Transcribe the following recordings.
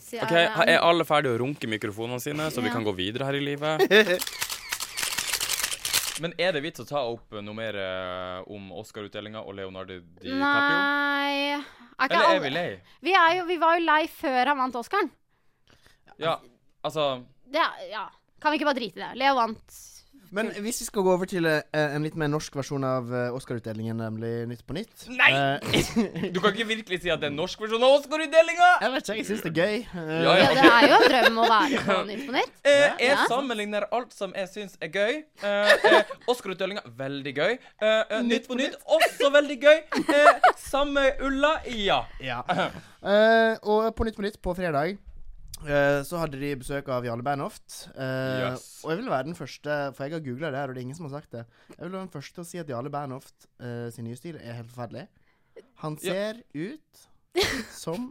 sier Ok, Are. Er alle ferdige å runke mikrofonene sine, så vi Ja. kan gå videre her i livet? Men er det vits å ta opp eh, noe mer eh, om Oscar-utdelinga og Leonardo DiCaprio? Nei er ikke Eller er alle- vi lei? vi, er jo, vi var jo lei før han vant Oscaren. Ja, altså Det, er- ja. Kan vi ikke bare drite i det? Leo vant. Men hvis vi skal gå over til eh, en litt mer norsk versjon av eh, Oscar-utdelingen, nemlig Nytt på nytt Nei! Eh, Du kan ikke virkelig si at det er en norsk versjon av Oscar-utdelinga! jeg vet ikke, jeg syns det er gøy. Eh, Ja, Ja, det er jo en drøm å være sånn på Nytt på Nytt. Eh, jeg Ja. sammenligner alt som jeg syns er gøy. Eh, eh, Oscar-utdelinga veldig gøy. Eh, eh, nytt på nytt også veldig gøy. Eh, samme ulla, ja. Ja. Eh, og på Nytt på Nytt på fredag eh, så hadde de besøk av Jarle Bernhoft. Eh, Yes. Og jeg vil være den første, for jeg har googla det her, og det er ingen som har sagt det. Jeg vil være den første til å si at Jarle Bernhoft eh, sin nye stil er helt forferdelig. Han Ja. ser ut som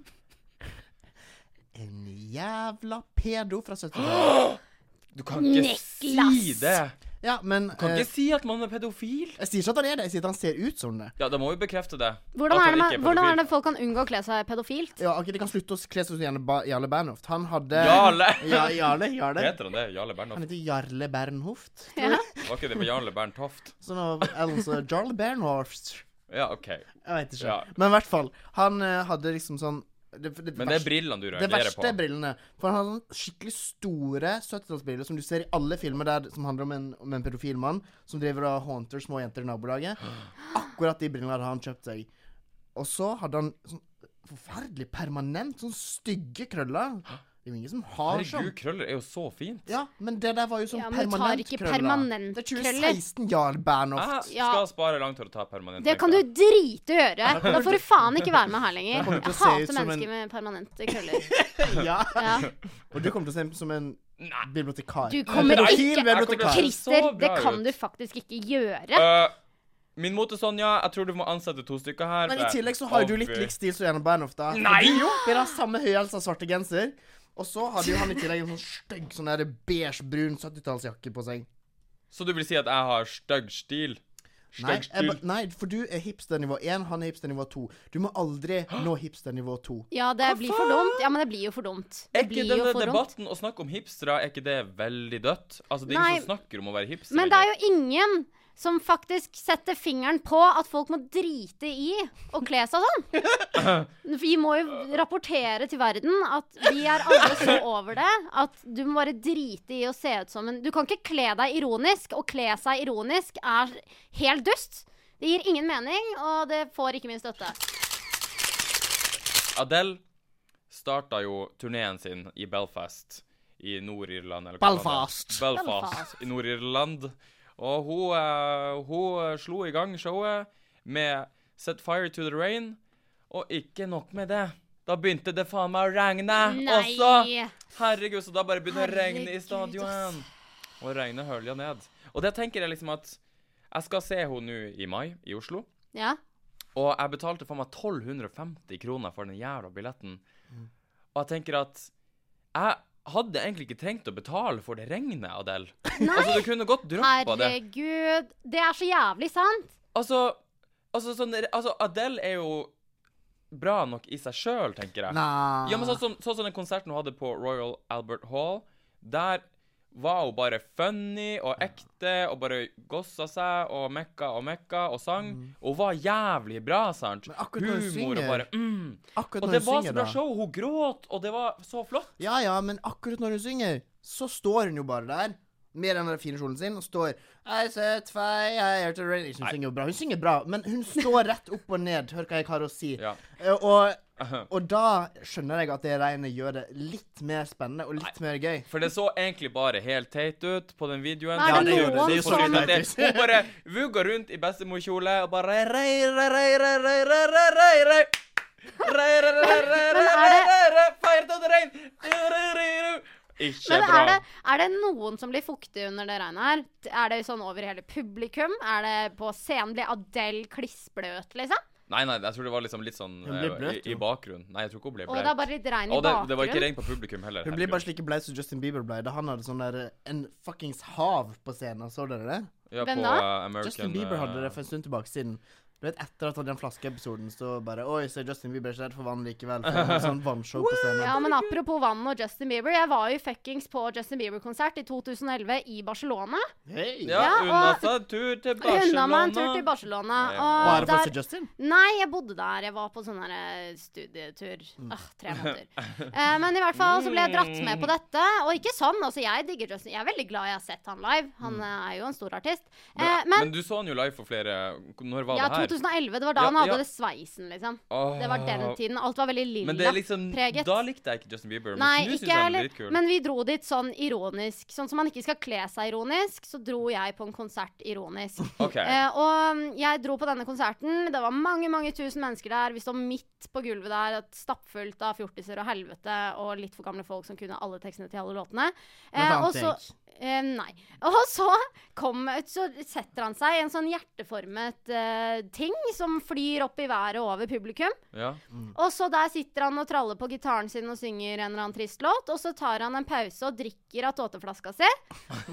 en jævla pedo fra 70-tallet. Du kan ikke si Niklas! det. Ja, men Du kan eh, ikke si at man er pedofil. Jeg sier ikke at han er det, jeg sier at han ser ut som det. Ja, da må vi bekrefte det. Hvordan At er, han det ikke man, er hvordan er pedofil. det folk kan unngå å kle seg pedofilt? Ja, ok, De kan slutte å kle seg som Jarle Ba- Jarle Bernhoft. Han hadde Jarle! Ja, Jarle, Jarle. Heter han det? Jarle Han Bernhoft? heter Jarle Bernhoft. Ja. Var ikke det på Jarle Berntoft? Sånn av altså, Jarle Bernhoft. Ja, OK. Jeg vet ikke. Ja. Men i hvert fall. Han eh, hadde liksom sånn det, det, Men det er verste- brillene du det reagerer verste på. er brillene. For han har sånne skikkelig store 70-tallsbriller som du ser i alle filmer der som handler om en, om en pedofil mann som driver og haunter små jenter i nabolaget. Akkurat de brillene hadde han kjøpt seg. Og så hadde han sånn forferdelig permanent sånn stygge krøller. Det er jo ingen som har Herregud, sånn. krøller er jo så fint. Ja, men det der var jo sånn Ja, men du tar permanent ikke krøller. permanent det er krøller. 2016 Jarl Bernhoft. Jeg Ja. skal spare langt hår og ta permanent. Det kan du tenkte jeg. drite i å gjøre. Da får du faen ikke være med her Da lenger. kommer du Jeg til å se ut hater som en- mennesker med permanente krøller. Ja. Ja. Og du kommer til å se ut som en bibliotekar. Du kommer En ikke pedofil Jeg kommer bibliotekar. til å- Christer, Så bra det kan ut. du faktisk ikke gjøre. Eh, Min mote, Sonja, jeg tror du må ansette to stykker her. Men i tillegg så har jo du litt Obvi- lik stil som Janne Bernhoft. da. Nei! For Jo, dere har samme høyhalsa svarte genser. Og så hadde jo han i tillegg en sånn stygg sånn der beige-brun 70-tallsjakke på seg. Så du vil si at jeg har stygg stil? Nei, Stygg jeg, stil. ba- nei, for du er hipster nivå 1, han er hipster nivå 2. Du må aldri nå hipster nivå 2. Ja, det blir for dumt. Ja, men det blir jo for dumt. Er Det ikke blir jo denne for dumt. debatten å snakke om hipstere, er ikke det veldig dødt? Altså, det er Nei. ingen som snakker om å være hipster. Men det er jo ingen som faktisk setter fingeren på at folk må drite i å kle seg sånn. Vi må jo rapportere til verden at vi er alle så over det at du må bare drite i å se ut som en Du kan ikke kle deg ironisk. Å kle seg ironisk er helt dust. Det gir ingen mening, og det får ikke min støtte. Adele starta jo turneen sin i Belfast i Nord-Irland. eller hva Belfast. det var. Belfast. Belfast. i Nord-Irland. Og hun, eh, hun eh, slo i gang showet med Set Fire to the Rain. Og ikke nok med det. Da begynte det faen meg å regne Nei. Eh, også. Herregud, så da bare begynner det å regne i Herregud, stadion. ass. Og regnet hølja ned. Og det tenker jeg liksom at Jeg skal se henne nå i mai i Oslo. Ja. Og jeg betalte for meg 1250 kroner for den jævla billetten. Mm. Og jeg tenker at jeg hadde egentlig ikke trengt å betale for det regnet, Adele. Altså, du kunne godt droppa det. Herregud. Det er så jævlig sant. Altså, altså, sånn, altså, Adele er jo bra nok i seg sjøl, tenker jeg. Nei. Ja, men sånn som, sånn som den konserten hun hadde på Royal Albert Hall, der var hun bare funny og ekte og bare gossa seg og mekka og mekka og sang. Og hun var jævlig bra, sant? Mm. Men akkurat når hun Humor og synger- bare mm. Akkurat Og når det hun var så synger, bra da. show. Hun gråt, og det var så flott. Ja ja, men akkurat når hun synger, så står hun jo bare der. Med den der fine kjolen sin og står I set fire to the rain. Ikke Hun synger jo bra, hun synger bra, men hun står rett opp og ned. Hør hva jeg har å si. Ja. Eh, Og, og da skjønner jeg at det regnet gjør det litt mer spennende og litt mer gøy. For det så egentlig bare helt teit ut på den videoen. Nei, Ja, det det gjør det. noen Det er jo så som- Det, teit. hun bare vugga rundt i bestemorkjole og bare rei, rei, rei, rei, rei, rei, rei, rei, rei. Rei, rei, rei, rei, rei, Men er rei, det- rei, rei, fire to the rain. Rei, rei, rei, rei. Ikke Men bra. er det, er det noen som blir fuktige under det regnet her? Er det sånn over hele publikum? Er det på scenen? Blir Adele klissbløt, liksom? Nei, nei, jeg tror det var liksom litt sånn Hun ble eh, bløt, i, i jo. bakgrunnen. Nei, jeg tror ikke hun ble Og det er bløt. bare litt regn i Og det, det var ikke bakgrunnen? regn på publikum heller. Hun blir bare herregud. slik blei som Justin Bieber ble da han hadde sånn der eh, en fuckings hav på scenen. Så dere det? Ja, Hvem på, da? eh, American, Justin Bieber hadde eh, det for en stund tilbake siden. Det Du vet, Etter at den flaskeepisoden så bare Oi, så Justin Bieber er ikke redd for vann likevel. For han har sånn vannshow på scenen. Ja, men apropos vann og Justin Bieber. Jeg var jo fuckings på Justin Bieber-konsert i 2011 i Barcelona. Hey. Ja, Ja, unna og- seg en tur til Jeg unna meg en tur til Barcelona. Barcelona. Ja. Og Og er det der, faktisk Justin? Nei, jeg bodde der. Jeg var på sånn her, eh, studietur. Mm. Ah, tre måneder. Eh, men i hvert fall så ble jeg dratt med på dette. Og ikke sånn, altså. Jeg digger Justin. Jeg er veldig glad jeg har sett han live. Han eh, er jo en stor artist. Eh, Mm. Men, men men du så han jo live for flere Når var ja, det her? 2011. Det var da Ja, han hadde ja. det sveisen, liksom. Åh. Det var den tiden. Alt var veldig lilla. Men det er liksom preget. Da likte jeg ikke Justin Bieber. Men Nei, nå synes ikke jeg jeg han er heller. dritkul. Men vi dro dit sånn ironisk. Sånn som man ikke skal kle seg ironisk, så dro jeg på en konsert ironisk. OK. Eh, og mm, jeg dro på denne konserten. Det var mange mange tusen mennesker der. Vi står midt på gulvet der, et stappfullt av fjortiser og helvete og litt for gamle folk som kunne alle tekstene til alle låtene. Blant annet og så, eh, nei. Og så, kom, så setter han seg i en sånn hjerteformet eh, ting som flyr opp i været over publikum. Ja. Og så der sitter han og traller på gitaren sin og synger en eller annen trist låt. Og så tar han en pause og drikker av tåteflaska si.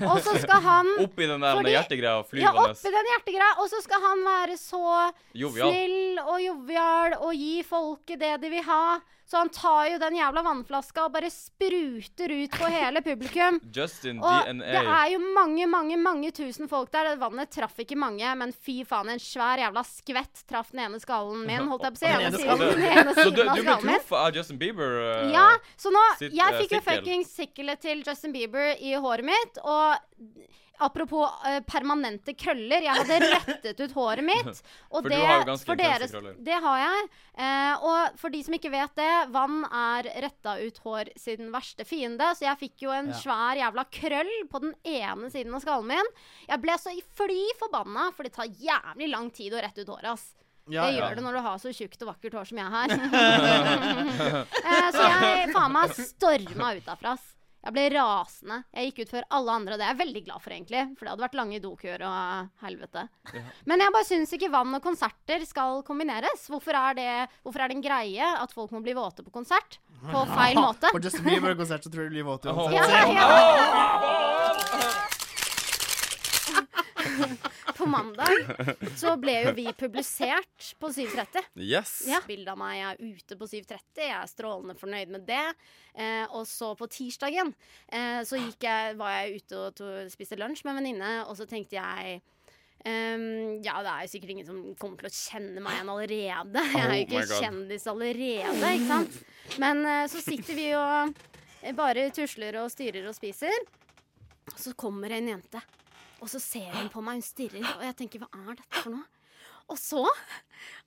Og så skal han Oppi den der Fordi- hjertegreia ja, flyvende. oppi den hjertegreia. Og så skal han være så Jovial. snill og jovial og gi folket det de vil ha. Så han tar jo den jævla vannflaska og bare spruter ut på hele publikum. Justin Og det DNA. er jo mange, mange mange tusen folk der. Det vannet traff ikke mange, men fy faen, en svær jævla skvett traff den ene skallen min, holdt jeg på å si. Den ene ene siden- skallen. Den ene Så du, siden av du ble skallen min. truffet av Justin Bieber? eh, Ja, så nå sitt, eh, Jeg fikk jo sikkel. fuckings sikkelet til Justin Bieber i håret mitt, og apropos eh, permanente krøller, jeg hadde rettet ut håret mitt. Og For du det, har jo ganske for intense deres, krøller. Det har jeg. Eh, og for de som ikke vet det, vann er retta ut hår sin verste fiende, så jeg fikk jo en Ja. svær jævla krøll på den ene siden av skallen min. Jeg ble så i fly forbanna, for det tar jævlig lang tid å rette ut håret, ass. Ja, det ja. gjør det når du har så tjukt og vakkert hår som jeg har. Eh, så jeg faen meg storma ut derfra. ass. Jeg ble rasende. Jeg gikk ut før alle andre, og det er jeg veldig glad for, egentlig. For det hadde vært lange dokøer og eh, helvete. Men jeg bare syns ikke vann og konserter skal kombineres. Hvorfor er, det, hvorfor er det en greie at folk må bli våte på konsert? På feil måte. På Justin Bieber-konsert så tror jeg du blir våt uansett. Ja, ja. På mandag så ble jo vi publisert på 7.30. Yes. Ja. Bildet av meg er ute på 7.30. Jeg er strålende fornøyd med det. Eh, og så på tirsdagen eh, så gikk jeg, var jeg ute og to, spiste lunsj med en venninne, og så tenkte jeg ehm, ja, det er jo sikkert ingen som kommer til å kjenne meg igjen allerede. Jeg er jo Oh my ikke God. kjendis allerede, ikke sant? Men eh, så sitter vi og eh, bare tusler og styrer og spiser. Og så kommer en jente, og så ser hun på meg, hun stirrer, og jeg tenker hva er dette for noe? Og så,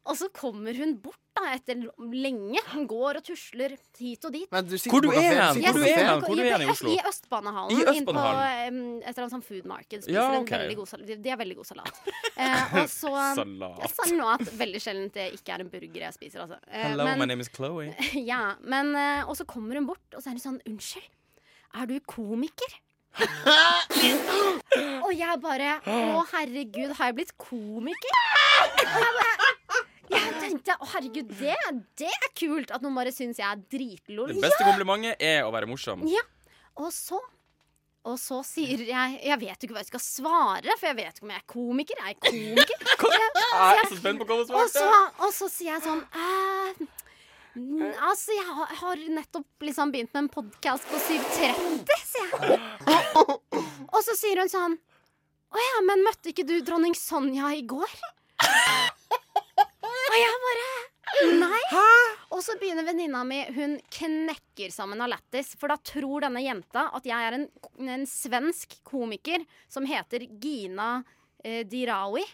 og så kommer hun bort da, etter lenge. Hun går og tusler hit og dit. Men du sitter Hvor du på er kafé, hen? sitter Hvor på du kafé. er hen? Hvor du er hen i Oslo? I Østbanehallen. I Inn på Østbanehallen. em, et eller annet sånn food market. Spiser Ja, en ok. veldig god salat. De har veldig god salat. Eh, og så Salat. Jeg sa nå at veldig sjelden det ikke er en burger jeg spiser, altså. Eh, Hello, men- my name is Chloe. ja, men eh, Og så kommer hun bort, og så er hun sånn Unnskyld, er du komiker? og jeg bare Å, herregud, har jeg blitt komiker? Og jeg bare jeg tenkte å herregud, det, det er kult at noen bare syns jeg er dritlol. Det beste komplimentet er å være morsom. Ja. Og så og så sier jeg Jeg vet jo ikke hva jeg skal svare, for jeg vet ikke om jeg er komiker. Jeg er komiker. Jeg er så spent på hva hun Og så, svarte. og så sier jeg sånn eh, mm, Altså, jeg har, har nettopp liksom begynt med en podkast på 7.30, sier jeg. Og så sier hun sånn Å ja, men møtte ikke du dronning Sonja i går? Og jeg bare Nei. Og så begynner venninna mi Hun knekker sammen av lættis. For da tror denne jenta at jeg er en, en svensk komiker som heter Gina eh, Dirawi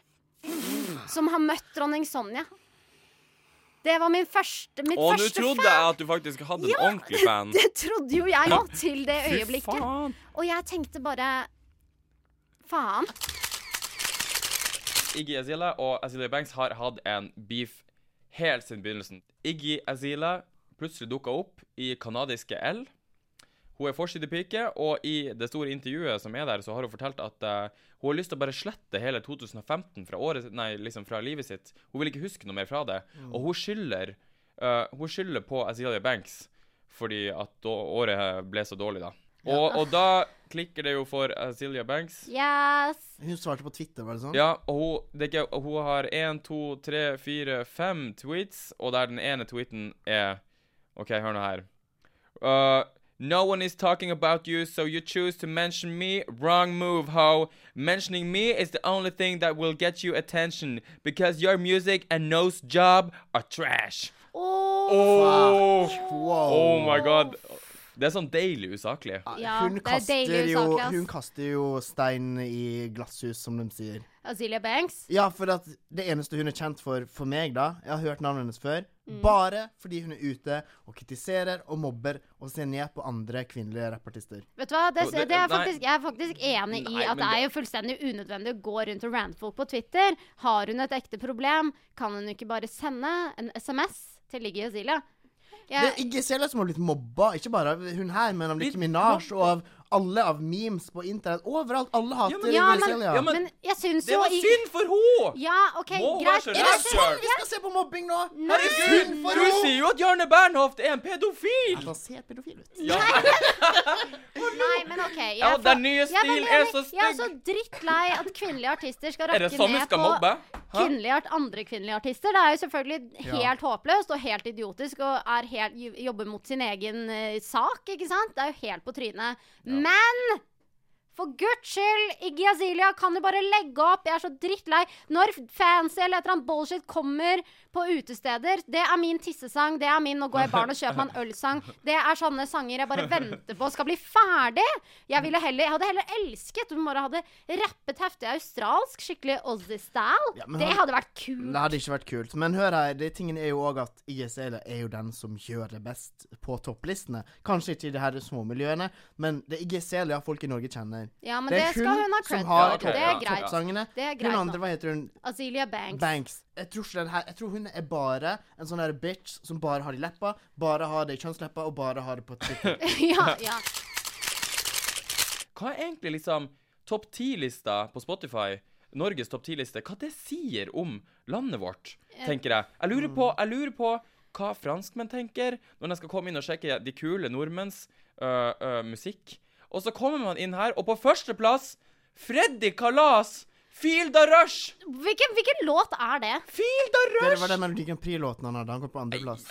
som har møtt dronning Sonja. Det var min første, mitt Og nå første trodde fan. jeg at du faktisk hadde en ordentlig fan. Det trodde jo jeg òg, til det Fy øyeblikket. faen. Og jeg tenkte bare Faen. Iggy Azila og Azilia Banks har hatt en beef helt siden begynnelsen. Iggy Azila plutselig dukka opp i kanadiske L. Hun er forsidepike, og i det store intervjuet som er der, så har hun fortalt at eh, hun har lyst til å bare slette hele 2015 fra, året, nei, liksom fra livet sitt. Hun vil ikke huske noe mer fra det. Og hun skylder, eh, hun skylder på Azilia Banks fordi at da, året ble så dårlig, da. Og, og da klikker det jo for eh, Silja Banks. Yes. Hun svarte på Twitter, var det sånn? Ja, og hun, det er ikke, og hun har én, to, tre, fire, fem tweets, og der den ene tweeten er OK, hør nå her. Uh, no one is talking about you, so you choose to mention me. Wrong move, ho. Mentioning me is the only thing that will get you attention, because your music and No's job are trash. Åh, Oh, Wow. oh my god. Det er sånn deilig usaklig. Ja, hun, det er kaster deilig jo, usaklig, ass. hun kaster jo stein i glasshus, som de sier. Azealia Banks. Ja, for at det eneste hun er kjent for, for meg, da Jeg har hørt navnet hennes før. Mm. Bare fordi hun er ute og kritiserer og mobber og ser ned på andre kvinnelige rappartister. Vet du hva? Det, Jo, det- det er nei. faktisk, jeg er faktisk enig i Nei, at men det er det- jo fullstendig unødvendig å gå rundt og rante folk på Twitter. Har hun et ekte problem, kan hun ikke bare sende en SMS til Liggy Azealia? Det Jeg, er Iggy Azalea som har blitt mobba, ikke bare av hun her, men av Litt Nicki Minaj og av alle av memes på internett. Overalt. Alle hater ja, Ja, men- Iggy men, Azalea. Ja, men- men jeg syns Det jo var i- synd for henne! Ja, OK, Må være greit. så Er det raus, sånn vi skal se på mobbing nå? Herregud, Synd for du henne! sier jo at Jarne Bernhoft er en pedofil! Han ser pedofil ut. Ja. Nei, men OK. Jeg, Ja, får- den nye jeg stilen veldig er enig. så Jeg er stygg. så drittlei at kvinnelige artister skal Er det rakke sånn vi ned på skal mobbe? Hæ? kvinnelige art, andre kvinnelige artister. Det er jo selvfølgelig helt håpløst og helt idiotisk og er helt, jo- jobber mot sin egen eh, sak, ikke sant? Det er jo helt på trynet. Men for guds skyld, Iggy Azilia, kan du bare legge opp? Jeg er så drittlei. Når fancy eller et eller annet bullshit kommer på utesteder, det er min tissesang, det er min 'nå går jeg i baren og kjøper meg en øl'-sang. Det er sånne sanger jeg bare venter på skal bli ferdig. Jeg, ville heller, jeg hadde heller elsket om hun bare hadde rappet heftig australsk, skikkelig Ozzy-style. Ja, men det han- hadde vært kult. Det hadde ikke vært kult. Men hør her, det, tingen er jo òg at ISL er jo den som gjør det best på topplistene. Kanskje ikke i de her små miljøene, men det er ISL ja, folk i Norge kjenner. Ja, men det, skal hun ha cred som har for. ok, det er ja, greit. toppsangene. Det er greit Hun nå. andre, hva heter hun? Azealia Banks. Banks. Jeg tror, ikke den her, jeg tror hun er bare en sånn der bitch som bare har det i leppa, bare har det i kjønnsleppa og bare har det på Twitter. ja, ja. Hva er egentlig liksom topp ti-lista på Spotify? Norges topp ti-liste. Hva det sier om landet vårt, Eh, tenker jeg. Jeg lurer mm. på, jeg lurer på hva franskmenn tenker når de skal komme inn og sjekke de kule nordmenns øh, øh, musikk. Og så kommer man inn her, og på førsteplass Freddy Kalas! Feel the rush! Hvilken, hvilken låt er det? Feel the det rush! var den Melodi Grand Prix-låten han hadde. Han kom på andreplass.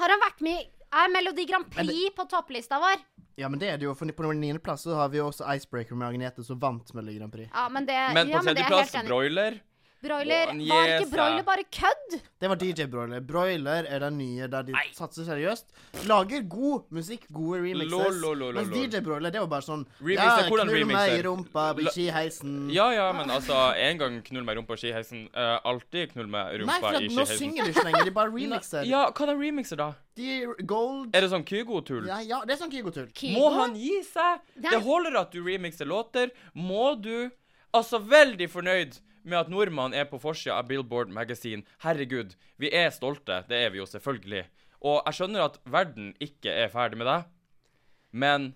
Har han vært med i Er Melodi Grand Prix på topplista vår? Ja, men det er det jo. For på nummer niendeplass så har vi jo også Icebreaker med Agnete, som vant Melodi Grand Prix. Ja, men det, Men ja, på men det er jeg tredjeplass helt enig. i. Broiler. Broiler. Å, Var ikke yes, ja. broiler bare kødd? Det var DJ Broiler. Broiler er den nye der de satser seriøst. Lager god musikk, gode remixes. Lol, lol, lol, mens lol. DJ Broiler, det var bare sånn Remix, det er hvordan knull meg i remixer? rumpa, La- ikke i heisen. Ja, ja, men altså, en gang knull meg i rumpa i skiheisen. eh, alltid knull meg i rumpa Nei, for i at nå skiheisen. synger de ikke lenger. De bare remixer. Ja, hva er remixer, da? De gold Er det sånn Kygo-tull? ja, ja, det er sånn Kygo-tull. Må Kygo? han gi seg? Nei. Det holder at du remixer låter. Må du Altså, veldig fornøyd med at nordmann er på forsida av Billboard Magazine. Herregud, vi er stolte. Det er vi jo, selvfølgelig. Og jeg skjønner at verden ikke er ferdig med deg, men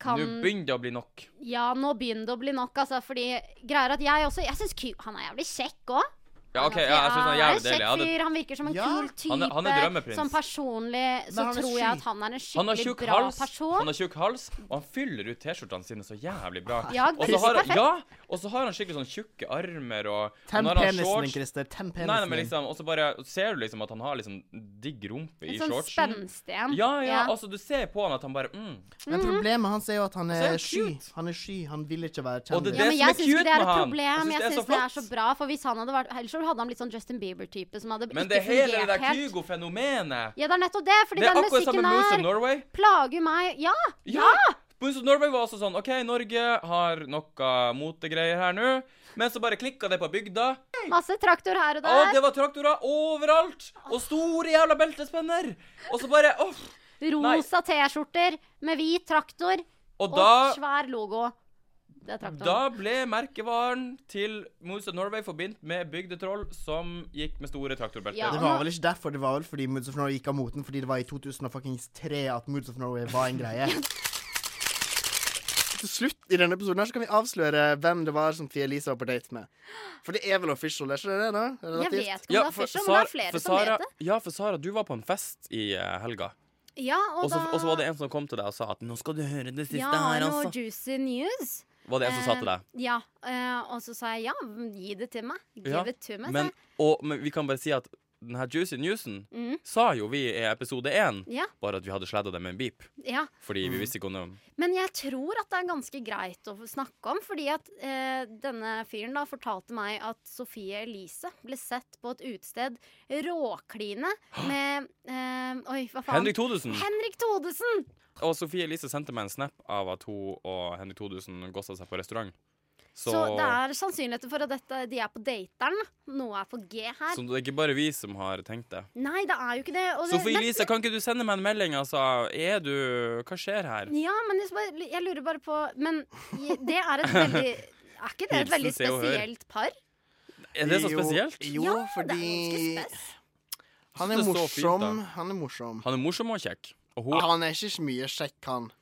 Kan nå begynner det å bli nok. Ja, nå begynner det å bli nok, altså, fordi greier at jeg også Jeg syns Ky... Han er jævlig kjekk òg. Ja, OK, ja, jeg syns han er jævlig deilig. Jeg kjekk hadde fyr. Han virker som en Ja. kul type. Han er- han er drømmeprins. Sånn personlig så Men han er tror jeg at syk. han er en Han har skikkelig tjukk bra hals, han person. har tjukk hals, og han fyller ut T-skjortene sine så jævlig bra. Ja, og så har, han- perfekt. ja, og så har han skikkelig sånn tjukke armer og Tem når han har penisen din, shorts- Christer. Tem penisen Nei, nei, men din. liksom, og så bare ser du liksom at han har liksom digg rumpe i Litt sånn shortsen. spenstig en. Ja, ja, altså du ser på han at han bare mm. Men problemet hans er jo at han Så er er han sky. cute. Han er sky. Han vil ikke være Og det kjendis. Ja, men som er jeg syns ikke cute det er et med han. problem. Jeg syns det er så flott. bra, for hvis han hadde vært Ellers så hadde han blitt sånn Justin Bieber-type som hadde Men ikke det hele det fungert der helt. Kygo-fenomenet Ja, det er nettopp det, fordi Det er den akkurat musikken samme med Moose of her Norway. plager meg Ja! Ja! Moose of Norway var også sånn OK, Norge har noe motegreier her nå, men så bare klikka det på bygda. Masse traktor her og Å, der. det var traktorer overalt! Og store jævla beltespenner! Og så bare åh. Rosa T-skjorter med hvit traktor Og og da svær logo. Det er traktoren. Da ble merkevaren til Moose of Norway forbindt med bygdetroll som gikk med store traktorbelter. Ja. Det var vel ikke derfor, det var vel fordi Moods of Norway gikk av moten, fordi det var i 2003 at Moods of Norway var en greie. Til slutt i denne episoden her så kan vi avsløre hvem det var som Fie Elise var på date med. For det er vel official, er ikke det det? da? Jeg Relativt. vet ikke om det er for Fisher, men det Sara- er flere for som Sara- vet det. Ja, for Sara, du var på en fest i eh, helga. Ja, og, Og så da og så var det en som kom til deg og sa at 'nå skal du høre det siste ja, her', noe altså. juicy news. Var det en som sa Eh, til deg. Ja. eh, og så sa jeg ja, gi det til meg. Give Ja, it to meg. Men, Men, og, men vi kan bare si at den her Juicy Newsen Mm. sa jo vi i episode én, ja, bare at vi hadde sladda det med en beep. ja. Fordi vi visste ikke om det Men jeg tror at det er ganske greit å få snakke om, fordi at eh, denne fyren da fortalte meg at Sofie Elise ble sett på et utested råkline med eh, Oi, hva faen? Henrik Thodesen! Henrik Thodesen! Og Sofie Elise sendte meg en snap av at hun og Henrik Thodesen gossa seg på restaurant. Så, Så, det er sannsynligheter for at dette, de er på dateren. Noe er på G her. så det er ikke bare vi som har tenkt det. Nei, det er jo ikke det. og det- Sofie men- Elise, kan ikke du sende meg en melding, altså? Er du Hva skjer her? Ja, men jeg, bare- jeg lurer bare på Men i- det er et veldig Er ikke det et Hilsen veldig Se og Hør. spesielt par? Er det så Jo- spesielt? Jo, Ja, det er fordi ganske spes. Han Det er er så morsom. fint, da. Han er morsom. Han er morsom og kjekk. Og hun Han er ikke så mye kjekk, han.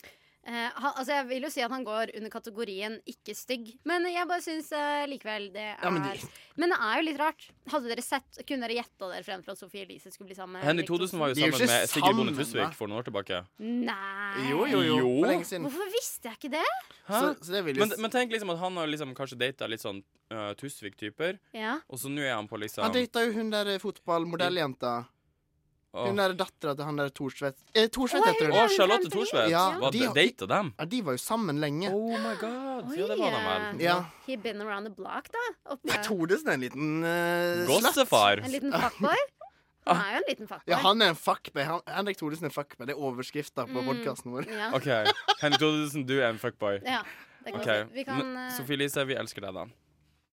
Eh, han, altså jeg vil jo si at han går under kategorien ikke stygg, men jeg bare syns eh, likevel det er Ja, men, men de- det... er jo litt rart. Hadde dere sett, Kunne dere gjetta dere frem til at Sofie Elise skulle bli sammen med Henrik Thodesen var jo De er jo sammen ikke med Sigrid Bonde sammen, da. Tusvik for noen år tilbake. Nei Jo, jo, jo. Jo. For lenge siden. Hvorfor visste jeg ikke det? Hæ? Så, så det vil jo Men, men tenk liksom at han har liksom kanskje data litt sånn eh, Tusvik-typer, Ja, og så nå er han på liksom Han data jo hun der eh, fotballmodelljenta. Åh. Hun der dattera til han der Thorsvedt. Eh, Thorsvedt Å, heter hun Åh, hun. er- Charlotte Thorsvedt! Ja, Var de det- har- Data dem? Ja, de var jo sammen lenge. Oh my god! Ja, det var de Oi, vel. ja. Ja. he been around the block, da. Oppe. Er Thodesen en liten eh, slapp? Gossefar. En liten fuckboy? Han er jo en liten fuckboy. Ja, han er en fuckboy. Han, Henrik Thodesen er en fuckboy. Det er overskrifta på Mm. podkasten vår. Ja. OK. Henrik Thodesen, du er en fuckboy. ja. Det kan Ok, vi si. Vi kan men eh, Sofie Elise, vi elsker deg, da.